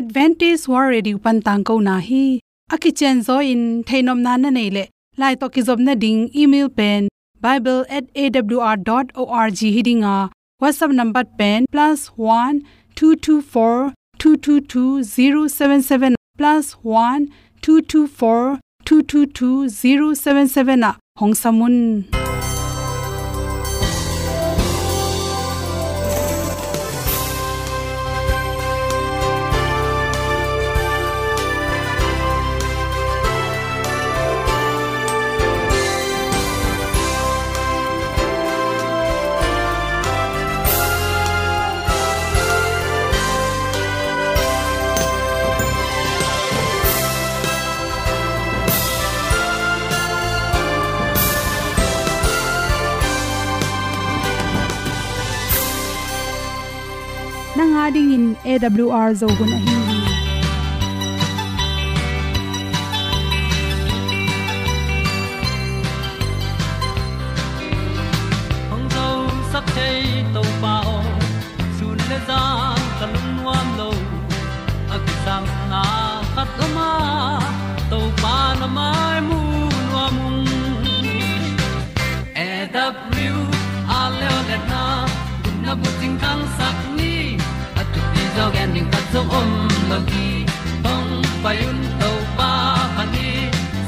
advantage war ready upan tang ko na hi aki chen zo in thainom nan na nei le lai to ki zob na ding email pen bible@awr.org hiding a whatsapp number pen plus +1 224 222 077 plus +1 224 222 077 a hong samun na nga ding in AWR zo gun ahi hong zo sak chei to pao sun le za ta lun nuam lo a ki sam na khat o ma to pa na mai mu nuam mung e da blue a le o le na gun na bu tin kan sak ni a tu ti zo gen ning ta zo om lo gi hong pa yun to pa pa ni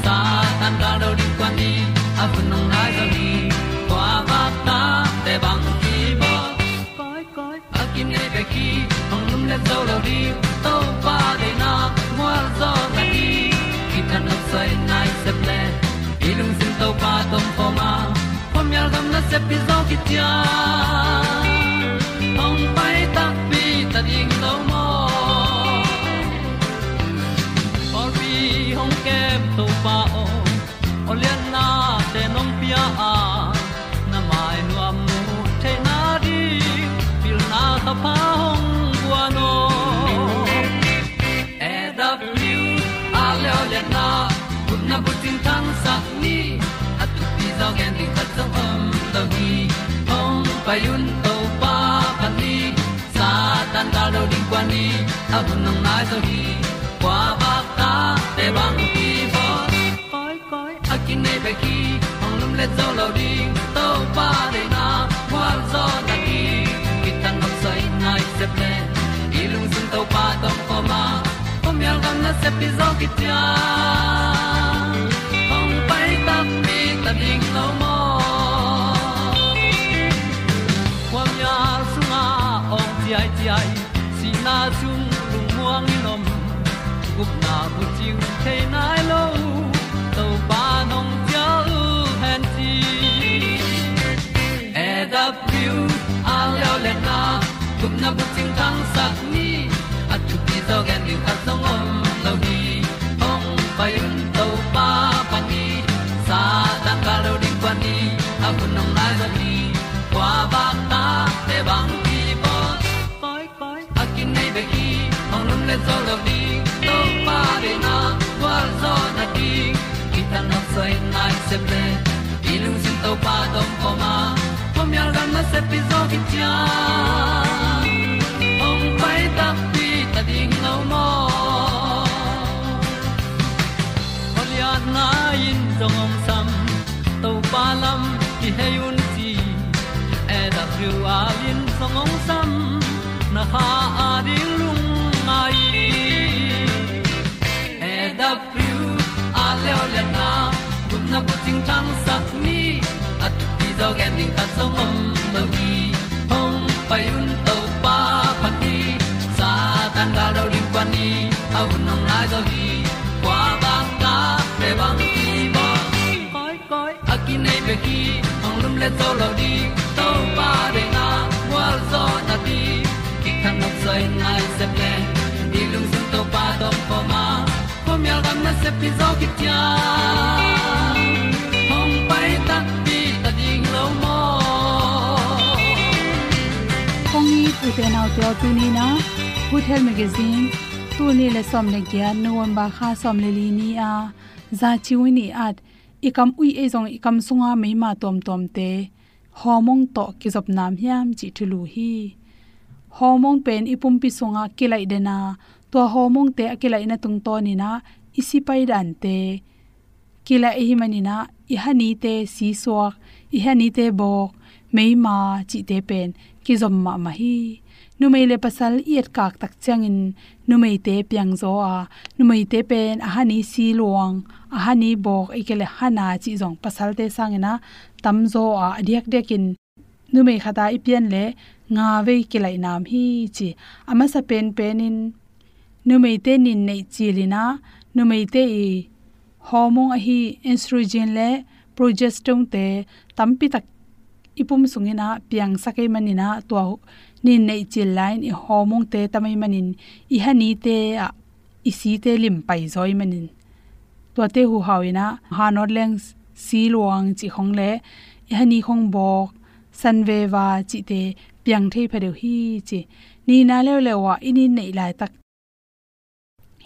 sa tan da do di kwa ni a bu nong nai zo ni qua bát ta để bằng khi bỏ cõi cõi ở kim nơi về khi hồng lung lên dấu đầu đi tàu pa để na mua gió ta đi khi ta nấp say nay sẽ lệ đi lung xin tàu pa tôm pho ma hôm nay gần nó sẽ bị gió kia chia hồng bay ta đi ta đi tàu mò or bi hong kem tàu pa o o liên na te nom pia a na mai nu amu te na di pil na ta pa hong bua no e w a le o le na kun na bu tin tan sa ni at pi zo gen di khat zo om to gi hong pa yun to pa pa ni sa tan da lo di kwa ni a bu nang mai zo gi kwa ba ta te bang ki bo koi koi akin nei pe ki ong lum le zo lo di to pa de na kwa zo ta ki kitan no sai nai se pe ilung sun to pa tom ko ma kom yal gam na se pi zo ki tia ong pai ta mi ta ding lo mo kwa mya su nga ong ti à, ai ti ai si na chung lung muang ni nom gup na bu ting te nai lo tàu ba nong gió hẹn chi e da piu a leo le na cũng na bu tin tang sắc ni a tu pi do gen ni a song om lo đi ong pai un tàu ba pa ni sa ta ka lo ding pa ni a bu nong lai za ni qua ba ta te bang ki bo koi koi a kin nei be ki ong lum le zo lo đi tàu pa de na qua zo na đi tan no soy nai se ple y lung sin to pa dom poma pom yal gam na se pizo ki tia om pai ta pi ta ding no mo ol ya na in dong om sam to pa lam ki he yun ti e da thru a lin song om sam na ha a ding lung mai e da thru a le o le na kun na bu ting tang sat ni at ti do ge ning ta som mom mo gi hong pai un to pa pa ti sa tan ga do ri pa ni a un nong lai do gi kwa ba ta pe bang ti ba koi koi a ki nei be ki hong lum le to lo di to pa de na wa zo na ti ki kan nok sai nai se ple ni lung sun to pa do pa ma mi alma na se piso que te Hom pai ta pi ta ding lo mo kong ni tu te naw te tu ni na good health magazine tu ni le som le kya november kha som le li ni a za chi wi ni at ikam ui e jong ikam sunga mei ma tom tom te homong to ki zop nam hiam chi thulu hi homong pen ipum pi sunga kilai de na ตัวโฮมงเตะกิละอินะตุงโตนี่นะอิสิไปดันเตกิละอิมันนี่นะอิฮานีเตสีสวกอิฮานีเตบอกเมยมาจิเตเป็นกิจอมมามาฮีนุเมเลปสัลเอียดกากตักเจียงอินนุเมเตเปียงโซอานุเมเตเป็นอาหานีสีลวงอาหานีบอกไอเกเลฮานาจิจงปสัลเตสังอินะตัมโซอาอเดียกเดียกิน nu mei khata i pian le nga ve ki lai nam hi chi ama sa pen pen in nu mei te nin nei chi lina nu mei te i hormone a hi estrogen le progesterone te tampi tak ipum sungina piang sakai manina to nin nei chi line i hormone te tamai manin i hani te a i si te lim pai zoi manin to te hu hawina hanot leng si luang chi khong le i hani khong bok san ve wa chi te piang thei phe deu hi chi ni na le le wa ini nei lai tak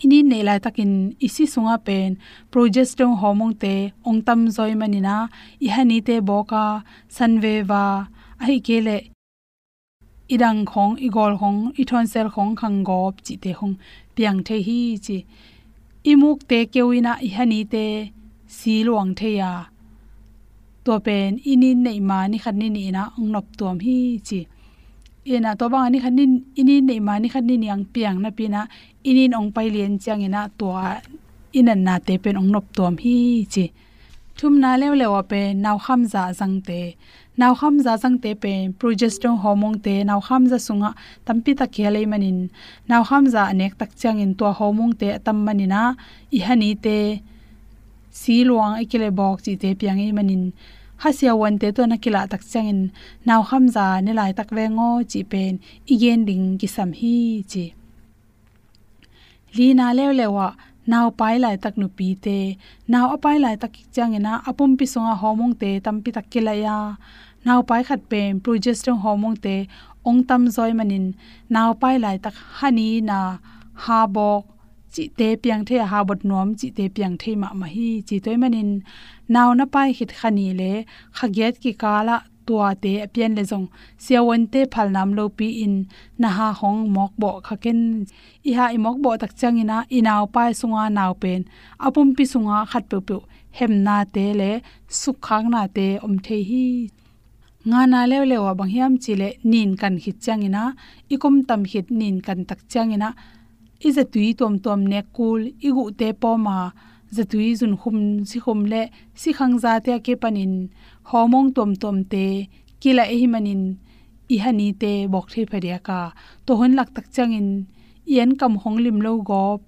ini nei lai takin isi sunga pen progesterone hormone te ongtam zoi manina i hani te boka san ve wa ai ke le idang khong igol khong ithon sel khong khang gop chi te hong piang thei hi chi imuk te kewina i hani te si luang thei ya ตัวเป็นอินินในมานี่คันนี่นี่นะองนบตัวพี่จีเอ็นะตัวบางอันนี้คันนี่อินินในมานี่คันนี่นี่ยังเปียงนะพี่นะอินินองไปเรียนเจียงเอ็นะตัวอินันนาเตเป็นองนบตัวพี่จีทุ่มนาเลวเลวว่าเป็นนาวคำจาสังเตนาวคำจาสังเตเป็นโปรเจสเตอร์ฮอร์โมนเตนาวคำจาสุงะตัมปิตะเคเลยมันินนาวคำจาอเนกตักเจียงเอ็นตัวฮอร์โมนเตตัมมันินะอีฮันนีเตสีลวงไอเกเลบอกจีเตเปียงไอมันิน ha sia wan te to na kila tak changin naw kham za ne lai tak ve ngo chi pen igen ding ki sam hi chi li na le le wa naw pai lai tak nu pi te naw apai lai tak changena apum pi songa homong te tam pi tak kila ya naw pai khat pen progesterone homong te ong tam zoi manin naw pai lai tak hani na ha bok chi te piang the ha bot nom chi te piang the ma ma hi chi toy manin नाउ न पाइ हित खनि ले खगेत की काला तुआते अपियन ले जों सेवनते फल नाम लो पी इन नहा होंग मोक बो खकेन इहा इ मोक बो तक चंगिना इनाउ पाइ सुंगा नाउ पेन अपुम पि सुंगा खत पे पे हेम ना ते ले सुख खांग ना ते ओम थे ही nga na le le wa bang hiam chi le nin kan hi changina ikum tam hit nin kan tak changina iza tui tom tom ne kul igu te po ma zatui zun khum si khum le si khang za te ke panin homong tom tom te kila e hi manin i hani te bok the pharia ka to hon lak tak changin yen kam hong lim lo gop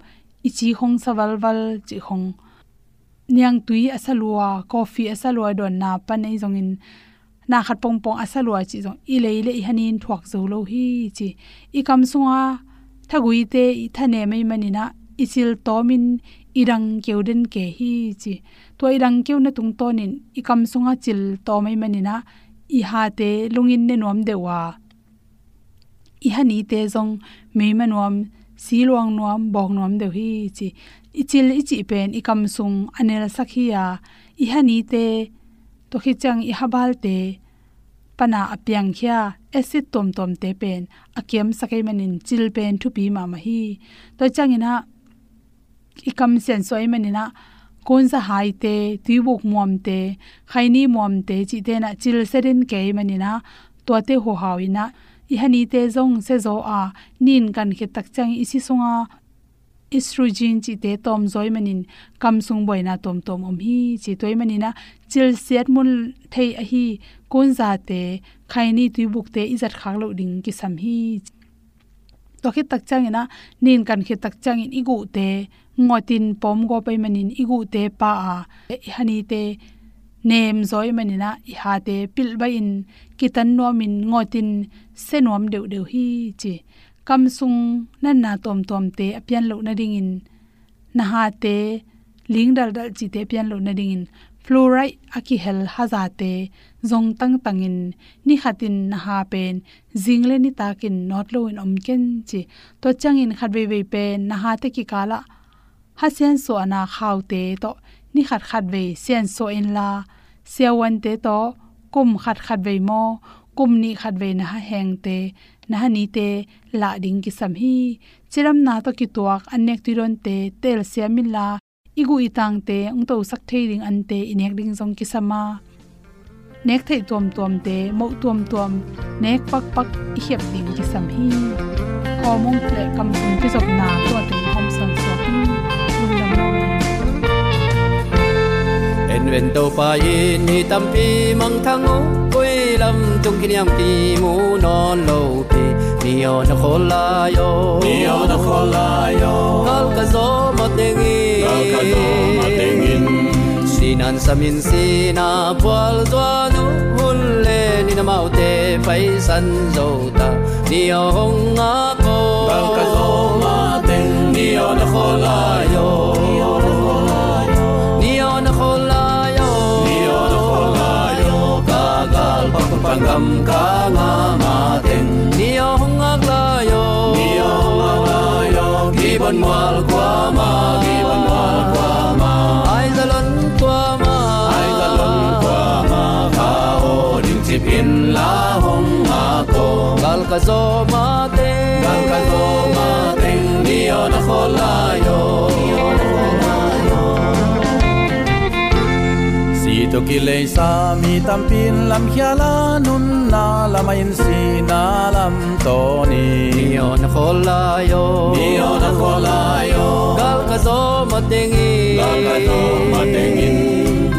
i chi hong sawal wal chi hong niang tui asalua coffee asalua don na pa nei zongin na khat pong pong asalua chi zong i le le i hanin thuak zo lo hi chi i kam sunga thagui te i thane mai manina isil tomin irang keuden ke hi chi to irang keu na tung tonin ikam sunga chil to mai manina i ha te lungin ne nom dewa i ha ni te zong me manom si luang nom bong nom de hi chi i chil i chi pen ikam sung anel sakhiya i ha ni te to khi chang i habal te pana apyang khya acid tom tom te pen akem sakai manin chil pen thu pi ma ma hi to changina ikam sen soi manina kon sa hai te tibuk muam te khaini muam te chi te na chil serin ke manina to te ho hawina i hani te zong se zo a nin kan khe tak chang isi sunga estrogen chi te tom zoi manin kam sung boina tom tom om hi chi toi manina chil set mun thei a hi kon za te khaini tibuk te izat khak lo ding ki sam hi to khe tak chang ina nin kan khe tak chang in igu te ngotin pom go pe manin igu te pa a hani te nem zoi manina i ha te pil ba in kitan no min ngotin se nom deu deu hi chi kam sung nan na tom tom te apian lo na ding in na ha te ling dal dal chi te pian lo na ding in fluoride aki hel haza te zong tang tangin ni khatin na ha pen jingle ni takin not lo in om ken chi to changin khat ve ve pen na ha te ki kala ha sian so ana khaw te to ni khat khat ve sian so in la sia wan te to kum khat khat ve mo kum ni khat ve na ha heng te na hani te la ding ki sam hi chiram na to ki tuak anek ti ron te tel siam min la igu itang te ung to sak thei ding an te inek ding jong ki sama nek thei tuam tuam te mo tuam tuam nek pak pak i hiap ding ki sam hi ko mong ple kam sum ki jop na to te hom san so hi lung lam lo en ven to pa in ni tam pi mang thang o koi lam chung kin yang pi mu non lo pi ni o na khol la yo ni o na khol la yo kal ka zo ma te ngi kal ka zo ma te ngi sin an samin sin a pwal zwa nu hun le ni na mau te pai san zo ta ni o hong a ko kal ka zo ma te ni o na khol la yo ni o na khol la yo ni o na khol la yo ka gal pa pa pa gam ka ma ma te ni o hong a la yo ni o ma la yo ki bon mal kwa ma ki bon mal kwa ma ai za lon kwa ma ai ka lon kwa ma ka o ding chip in la hong ma ko Kal ka zo ma te Bang ka go ma ting ni ona kholayo Si to kilei sa mi tampin lam hiala nun na lama in si na lam to ni ni on khol la yo Ni ona kholayo Kal ka zo ma te ngi Bang ka go ma ting in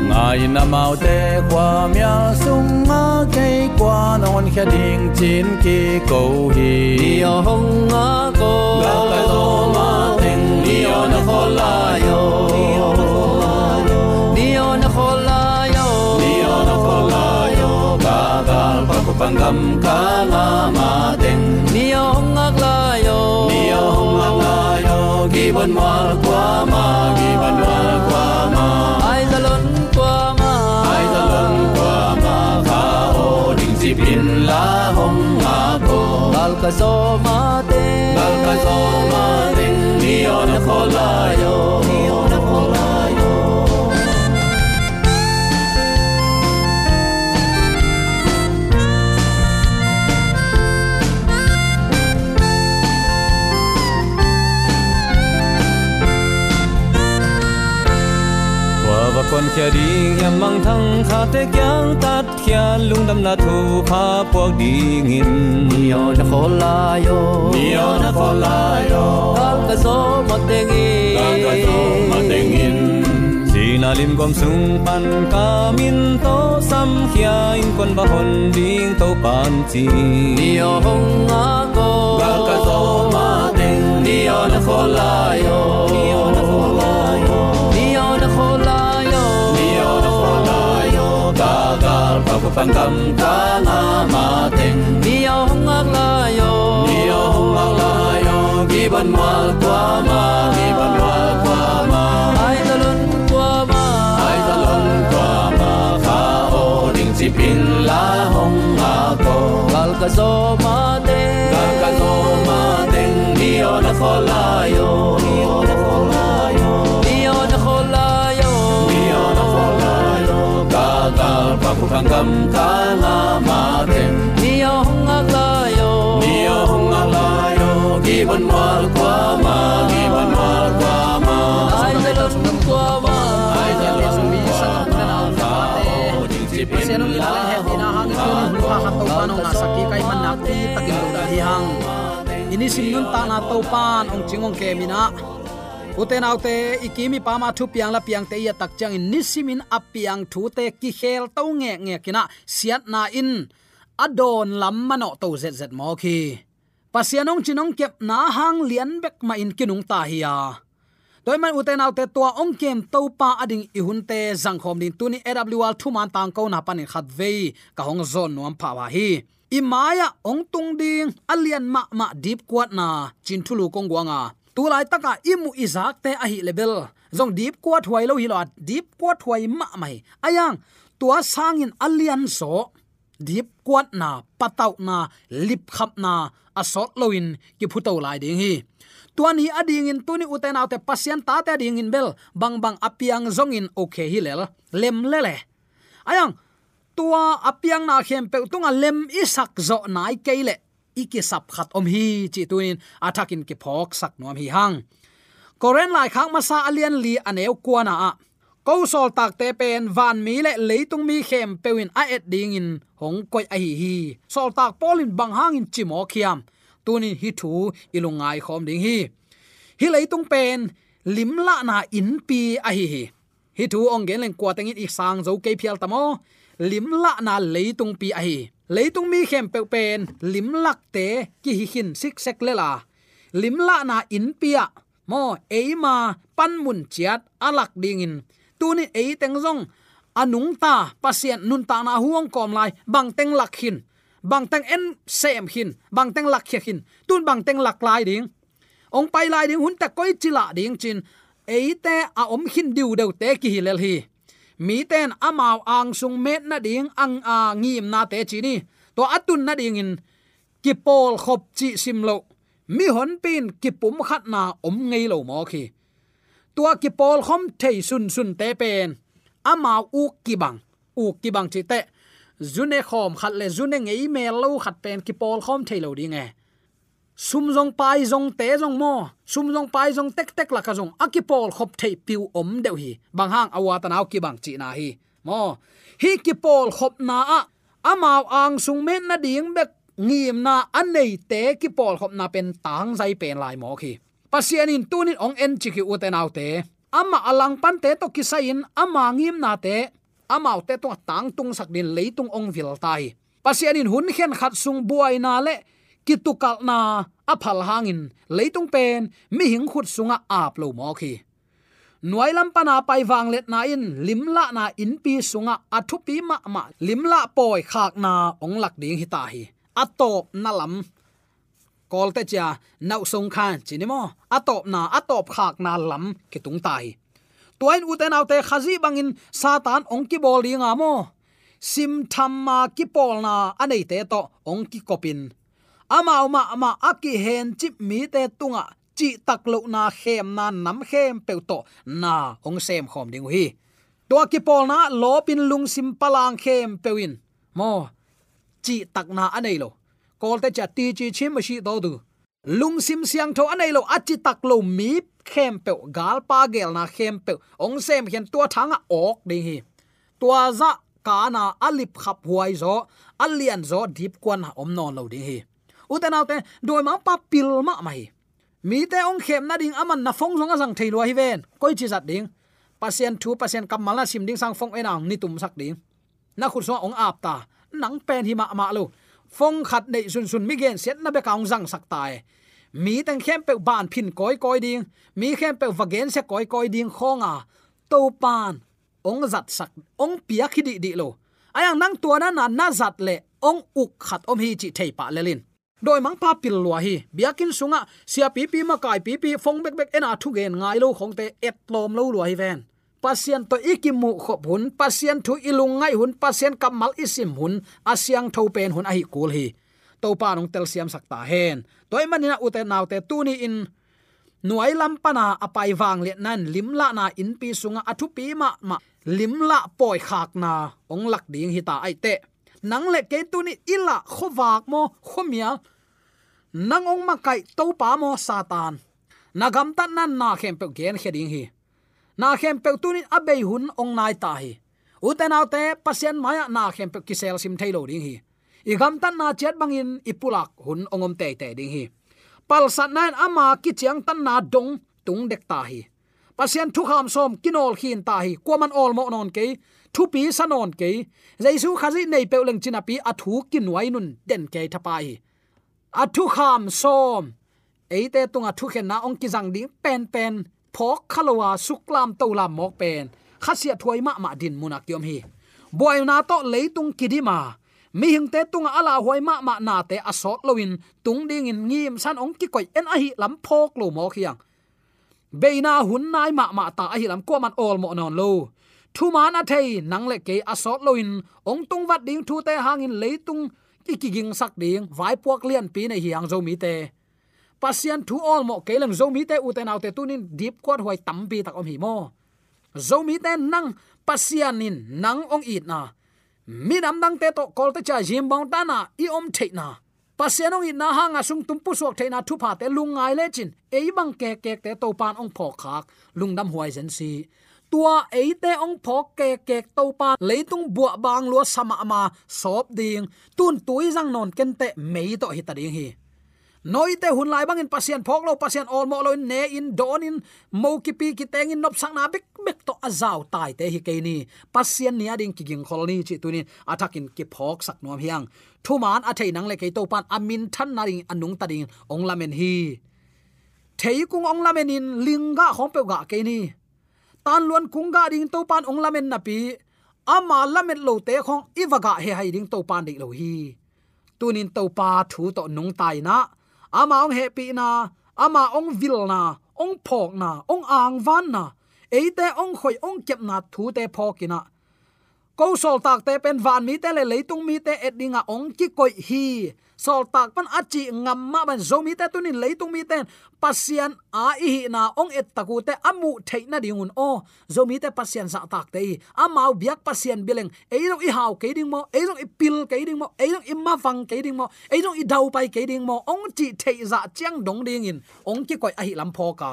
Ngai na mau te kwa mia sung ma kei kwa non kha ding chin ki ko hi ni o hong a ko Bang ka go ma ting ni ona kholayo Ni ona kholayo ni on khol la yo Dio na kolayo gagal pagpapanggam ka nga mating ni o hong a la yo Dio manglayo gibon mal kwa ma gibon mal kwa ma ai za lon kwa ma ay talon kwa ma ka o ding si pin la hong nga ko Kal ka zo ma te gal ka so mating Dio na kolayo Dio na kolayo qua va kon kya ding yam mang thang kha te kyang tat kya lung dam na thu kha puak ding in ni on khol la yo Dio na kolayo Kal ka zo ma te ngi gal ka so mating in Sina lim gom sung pan kamin to sam khia in kon ba hon ding to pan chi ni o hong a go Bang ka zo ma ting ni on a kolayo ni on a kolayo ni o na kho la yo ni on a kolayo ga ga pa pa pang gam ka na ma ting ni o hong a la yo ni on a kolayo gi ban ma kwa ma gi ban ma kwa ma ai ta lon qua ma ai ta lon kwa ma ka o ding si pin la hong a ko kal ka zo ma te ga ka zo ma ting ni on a kolayo ni on a kolayo ni o na kho la yo ni o hong a la yo Given mal kwama, given mal kwama. ai ta lon qua ma ai ta lon senong ila le hep ina hang tu ni hulwa ha to pan ong asaki kai man na ti takin lo da hi hang ini sim nun ta na to pan ong chingong ke mina uten autte ikimi pa ma thu piang la piang te ya tak chang in nisimin ap piang thu te ki khel to nge nge kina siat na in adon lam mano to zet zet mo ki pasianong chinong kep na hang lian bek ma in kinung ta hi ya toy man uten autte tua ong kem topa ading ihun te zangkhom din tuni awl thuman tang ko na panin khat ve ka hong zon nuam pha wa hi imaya ong tung ding alian ma ma deep kwat na chin thulu kong guanga tu lai taka imu izak te a hi level zong deep kwat huai lo hi lo deep kwat huai ma mai ayang tua sangin alian so deep kwat na patau na lip khap na asot loin ki phuto lai ding hi tuan hi ading in tuni uten autte pasien ta te ading in bel bang bang apiang zong in okay hi lel lem lele ayang tua apiang na khem pe tunga lem isak zo nai keile iki sap khat om hi chi tuin athakin ki phok sak nom hi hang koren lai khang ma sa alian li aneu kuana a ko sol tak te pen van mi le leitung mi khem pewin a et ding in hong koi a hi hi sol tak polin bang hang in chimo khiam tunin hi thu ilungai khom ding hi hi leitung pen lim la na in pi a hi hi hi thu ong gen leng kwa tengin i sang zo ke phial tamo lim la na leitung pi a hi leitung mi khem pe pen lim lak te ki hi hin sik sek le la lim la na in pia mo eima pan mun chiat alak ding in tuni e teng zong anung ta pasien nun ta na huang kom lai bang teng lak hin bang teng en sem hin bang teng lak hin tun bang teng lak lai ding ong pai lai ding hun ta koi chila ding chin à eite a om hin diu deu te ki hilel hi mi ten amao ang sung met na ding ang a ngim na te chi ni to atun na ding in ki pol khop chi sim lo mi hon pin ki pum khat na om ngei lo mo khi tua ki pol khom thei sun sun te pen amao u ki bang u ki bang chi te zune khom khat le zune ngei me lo khat pen ki pol khom thei lo ding e sum jong pai jong te jong mo sum jong pai jong tek tek la ka jong akipol khop thei piu om deu hi bang hang awa ta nau ki bang chi na hi mo hi kipol khop na a amaw ang sung men na ding bek ngim na anei te kipol khop na pen tang zai pen lai mo khi pasian in tunin ong en chi ki uten au te ama alang pan te to kisain ama ngim na te amaw te to tang tung sak din leitung ong vil tai pasian in hun khen khat sung buai na le kitukal na aphal hangin leitung pen mi hing khut sunga ap lo mo khi nuai lam pana pai wang let na in limla na in pi sunga athu pi ma ma limla poi khak na ong lak ding hi ta hi atop na lam kol te cha nau song khan chini mo atop na atop khak na lam ki tung tai tuain uten autte khazi bangin satan ong ki bol dinga mo sim tham ma ki pol na anei te to ong ki kopin ama uma ama aki hen chip mi te tunga chi tak lo na khem na nam khem pe to na ong sem khom ding hi to ki pol na lo pin lung sim palang khem pewin mo chi tak na anei lo kol te cha ti chi chim ma shi do du lung sim siang tho anei lo achi tak lo mi khem pe gal pa gel na khem pe ong sem khen tua thanga ok ding hi tua za kana alip khap huai zo alian zo deep kwan om non lo ding hi uten autte doi ma pa pil ma mai mi te ong khem na ding aman na phong song asang thailo hi ven koi chi zat ding pasien thu pasien kam mala sim ding sang phong enang ni tum sak ding na khut so ong ap ta nang pen hi ma ma lo phong khat nei sun sun mi gen set na be kaung jang sak tai mi tang khem pe ban phin koi koi ding mi khem pe vagen se koi koi ding khonga to pan ong zat sak ong pia khidi di lo ayang nang tuana na na zat le ong uk khat om hi chi thei pa lelin doi mang pa pil lua hi biakin sunga sia pi pi ma kai pi pi phong bek bek ena thu gen ngai lo khong te et lom lo lua hi ven pasien to ikimu khop hun pasien thu ilung ngai hun pasien kamal isim hun asyang tho pen hun ahi kul hi to pa nong tel siam sakta hen toy manina uten naw te tuni in nuai lam pana apai wang let nan limla na in pi sunga athu pi ma ma limla poi khak na ong lak ding hi ta ai te nang le ke tu ni ila khowak mo khomia nang ong ma kai to pa mo satan nagam tan nan na khem pe gen heding hi na khem pe tu ni abei hun ong nai ta hi uten aw te pasien maya na khem pe kisel sim thailo ding hi i gam tan na chet bangin ipulak hun ongom te te ding hi pal sat nan ama ki chiang tan na dong tung dek ta hi pasien thu kham som kinol khin ta hi kwaman ol mo non ke thu pi sanon ke jaisu khazi nei pe leng china pi athu kin wai nun den ke thapai athu kham som eite tunga thu khen na ong ki jang ding pen pen phok khalowa suklam tola mok pen khasia thuai ma ma din munak yom hi boy na to leitung kidima mi hing te tunga ala hoi ma ma na te asot lowin tung ding in ngim san ong ki koi en a hi lam phok lo mo khiang beina hun nai ma ma ta a hi lam ko man all mo non lo thu man a thei nang le ke asot loin ong tung wat ding thu te hangin leitung ki ki ging sak ding vai puak lian pi nei hiang zo mi te pasien thu all mo ke lang zo mi te u te naw te tunin deep quad hoi tam bi tak om hi mo zo mi te nang pasien in nang ong it na mi nam dang te to kol te cha jim bang ta na i om thei na pasianong in na hanga sung tumpu suak theina thu pha te lungai le chin ei bang ke ke te to pan ong phok khak lungdam huai zen si tua ei te ong phok ke ke to pan leitung bua bang lo sama ama sop ding tun tui jang non ken te mei to hi ta ding hi noi te hun lai bangin pasien phok lo pasien all mo lo in ne in don in mo ki pi ki teng in nop sang na bek bek to azau tai te hi ke ni pasien nia ding ki ging khol ni chi tu ni athakin ki phok sak nom hiang thu man a thei nang le ke to pan amin than na ring anung ta ding ong lamen hi thei kung ong lamen in linga khom pe ga ke ni tan luan kunga ding to pan ong lamen na pi ama lamen lo te khong iwaga he hai ding to pan dik lo hi tunin to pa thu to nung tai na ama ong happy na ama ong vil na ong phok na ong ang van na eite ong khoi ong kep na thu te phokina ko sol tak te pen van mi te le leitung mi te edinga ong ki koi hi sol tak pan achi ngam ma ban zo mi te tunin leitung mi ten pasian a i hi na ong et taku te amu theina dingun o zo mi te pasian dạ za tak te i amau biak pasian bileng eiro i hau ke ding mo eiro i pil ke ding mo eiro i ma wang ke ding mo eiro i dau pai ke ding mo ong chi thei za dạ chiang dong ding in ong ki koi a hi lam phoka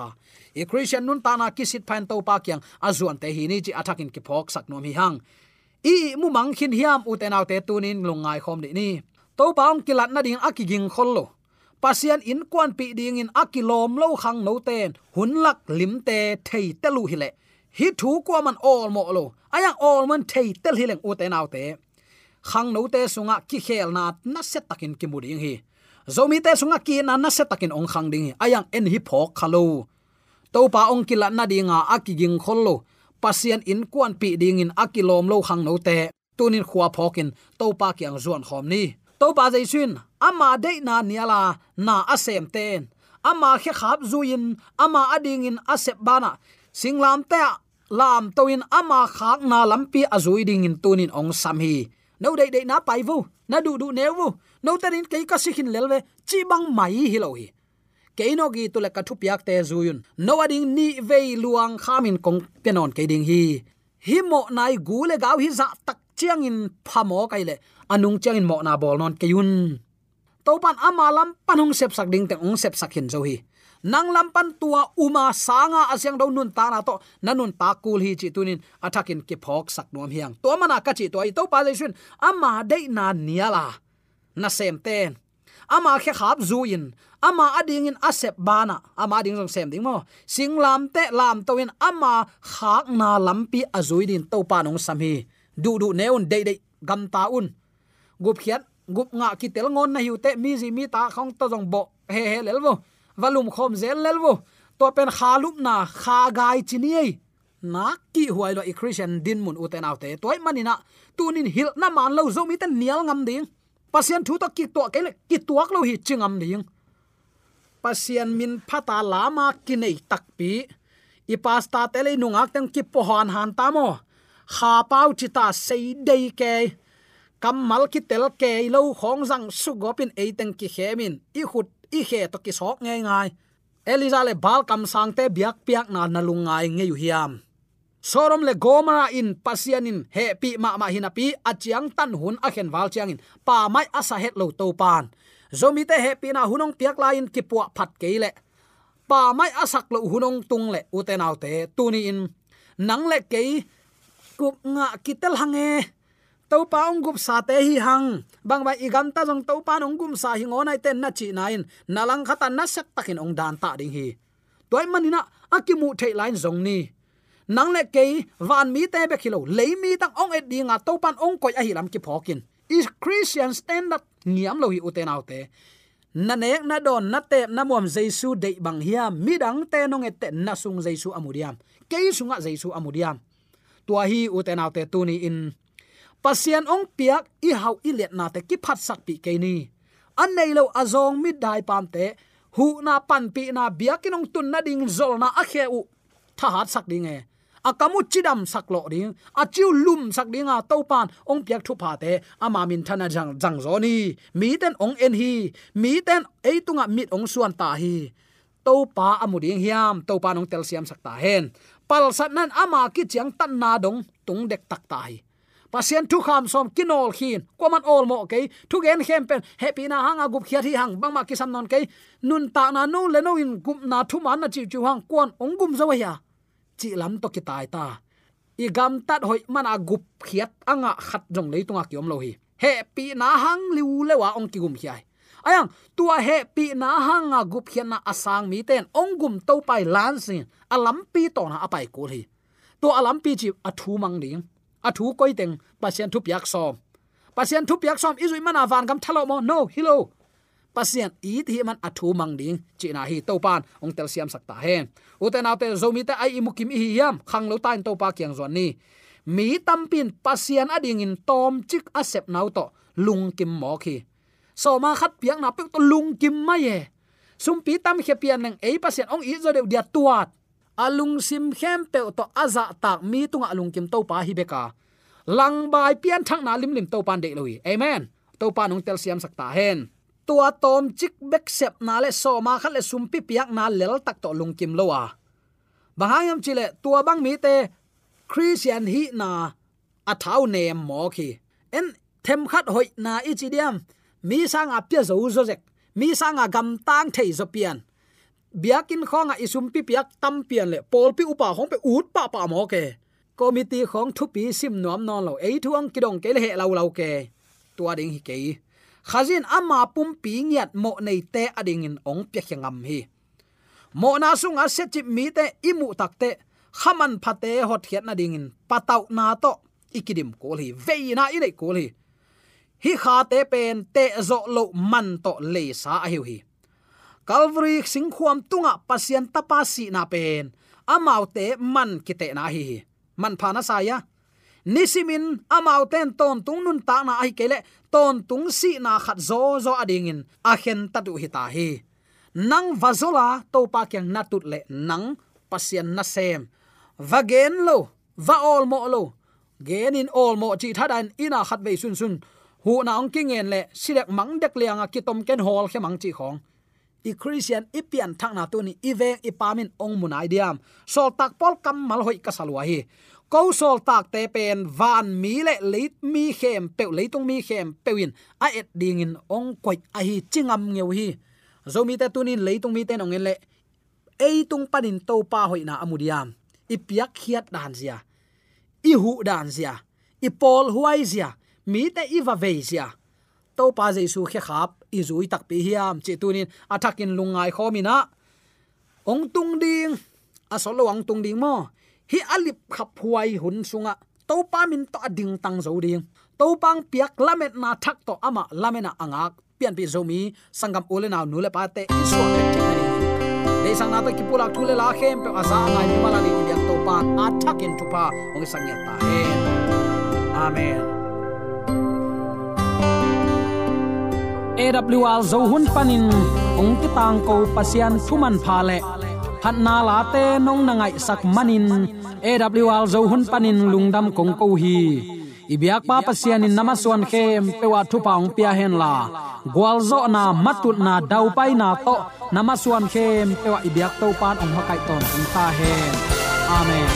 i christian nun ta na kisit phan to pa kyang azuan te hi ni chi attacking ki phok sak nom hi hang i mu mang khin hiam u te naw te tunin lungai khom ni ni to paung kilat na ding akiging khol lo pasian in kwan pi ding in akilom lo khang no ten hun lak lim te thei te lu hi le hi thu kwa man all mo lo ayang all man thei tel hi leng u te naw te khang no te sunga ki khel na na set takin ki mu ding hi zomi te sunga ki na na set takin ong khang ding hi ayang en hi phok khalo to pa ong kilat na dinga akiging khol lo pasian in kuan pi ding in akilom lo khang no te tunin khwa phokin to pa kyang zuan khom ni to pa jai sun ama de na niala na asem ten ama khe khap zuin ama ading in asep bana singlam te lam toin ama khak na lampi azui ding in tunin ong sam hi no dei dei na pai vu na du du neu vu no tarin kei ka sikhin lelwe chi bang mai hi lo hi keino gi tule ka thupiak te zuyun no ading ni ve luang khamin kong kenon ke ding hi hi mo nai gule gaw hi za tak chiang in phamo kai le anung chiang in mo na bol non ke yun to pan amalam panung sep sak ding te ong sep sak hin zo hi nang lampan tua uma sanga asyang do nun ta na to nanun ta kul hi chi tunin athakin ke phok sak nom hiang to mana ka chi to ai to pa jaisun ama dei na niala na sem ten ama khe khap zuin ama ading in asep bana ama ding jong sem ding mo sing lam te lam to in ama khak na lampi azui din to pa nong sam hi du du neun dei dei gam ta un gup khiat gup nga ki tel ngon na hiu te mi ji mi ta khong to jong bo he he lelwo valum khom zel lelwo to pen khalup na kha gai chini ei na ki huai lo i christian din mun uten autte toy manina tunin hil na man lo zo mi ten nial ngam ding pasian thu to ki to ke le ki tuak lo hi chingam ding pasian min phata lama ki nei takpi i pasta tele nungak tang ki pohan han ta mo kha pau chita sei dei ke kam mal ki tel ke lo khong jang su gopin ei tang ki hemin i khut i he to ki sok ngai ngai eliza le bal kam sang te biak piak na nalungai nge yu hiam sorom le gomara in pasianin he pi ma ma hinapi achiang tan hun akhen wal chiang in pa mai asa het lo to pan zomi te he pi na hunong piak lain ki puwa phat ke le pa mai asak lo hunong tung le uten autte tuni in nang le ke kup nga kitel hange to pa ong gup sa te hi hang bang ba igam ta jong to pa ong gum sa hi ngonai ten na chi nain nalang khata na sak takin ong dan ta ding hi toy manina akimu thei lain zong ni nang le ke van mi te be khilo le mi tang ong et dinga to pan ong koi a hi lam ki phokin is christian stand up niam lo hi uten autte na nek na don na te na mom jesu de bang hiam mi dang te nong et te na sung jesu amudiam ke sunga jesu amudiam tua hi uten autte tu ni in pasian ong piak i hau i let na te ki phat sak pi ke ni an nei lo azong mi dai pam te hu na pan pi na biakinong tun na ding zol na a khe u tha hat sak ding e akamu chidam saklo ding achiu lum sak dinga topan ong piak thu pha te ama min thana jang jang zo ni mi ten ong en hi mi ten ei tunga mit ong suan ta hi topa amuding hiam topa nong telsiam sakta hen pal sat nan ama ki chiang tan na dong tung dek tak ta hi pasien thu kham som kinol khin koman ol mo ke thu gen hem pen happy na hanga gup khia thi hang bang ma ki sam non ke nun ta na nu le no in gup na thu man na chi chu hang kon ong gum zo ya chi lam to ki tai ta i gam tat hoi man a gup khiat anga khat jong le tunga kiom lo hi he pi na hang liu le wa ong ki gum khiai ayang tua he pi na hang a gup khian na asang mi ten ong gum to pai lan sin alam pi ton ha apai kul hi to alam pi chi a thu mang ding a thu koi teng pasien thup yak som pasien thup yak som izui man avan gam thalo mo no hello pasien i thi man athu mang ding china hi to pan ong tel siam sakta hen uten autel zomi ta ai imukim hi yam khang lo tan to pa kyang zon ni mi tampin pasien ading in tom chik asep nau to lung kim mo khi so ma khat piang na pek to lung kim ma ye sum pi tam khe pian nang ei pasien ong i zo de dia tuat alung sim khem pe to aza tak mi tunga lung kim to pa hi beka lang bai pian thang na lim lim to pan de loi amen to pan ong tel siam sakta hen tua tom chik bek sep na le so ma khat le sum pi piak na lel tak to lung kim lowa bahayam chile tua bang mi te christian hi na a thau ne mo khi en them khat hoi na i chi diam mi sang a pya zo zo jek mi sang a gam tang thei zo pian biakin khong a isum pi piak tam pian le pol pi upa hong pe ut pa pa mo ke committee khong thu pi sim nom non lo ei thuang kidong ke le he lau lau ke tua ding hi ke khazin ama pum pi ngiat mo nei te ading in ong pya khangam hi mo na sunga se chi mi te imu takte khaman phate hot hiat na ding in patau na to ikidim kol hi vei na i nei kol hi hi kha te pen te zo lo man to le sa a hi hi calvary sing khuam tunga pasien tapa si na pen amau te man kite na hi hi man phana sa ya nisimin amau ten ton tung nun ta na ai kele ton tung si na khat zo zo ading in a khen ta du hi ta hi nang vazola to pa kyang na tut le nang pasien na sem vagen lo va ol mo lo gen in ol mo chi thadan ina khat ve sun sun hu na ong king en le silek mang dek liang a kitom ken hol khe mang chi khong i christian ipian thakna tu ni ive ipamin ong munai diam sol tak pol kam mal hoi ka salwa hi ko sol tak te pen van mi le leit mi khem pe leitung mi khem pewin a et ding in ong koi a hi chingam ngeu hi zomi te tunin leitung mi ten ong le ei tung panin to pa hoina amudiam ipiak khiat dan zia i hu dan zia i pol huai zia mi te i va ve zia to pa jesu khe khap i zui tak pi hiam che tunin athakin lungai khomina ong tung ding asolo ang tung ding mo hi alip khap huai hun sunga to pa min to ading tang zo ding to pang piak lamet na thak to ama lamena angak pian pi zomi sangam ole na nu le pa te isu ne de sang na to ki pula thule la khem pe asa ngai ni mala ni ki biak to pa athak in tu pa ong sang ya ta he amen AWR zo hun panin ong ti tang ko pasian thuman pha le phat na la te nong na ngai sak manin AWR zo hun panin lungdam kong ko hi ibyak pa pasian in namaswan khem pewa thu paung pia hen la gwal zo na matut na dau pai na to namaswan khem pewa ibyak to pan ong hakai ton ong ta hen amen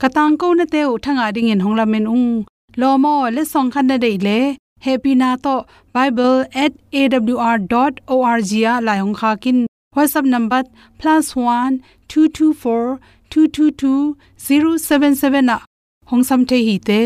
katang ko na teu thanga ding in hongla men ung lomo le song khan na dei le happy na to bible@awr.org ya la hong kha kin whatsapp number +1 224 222 077 na hong sam the hi te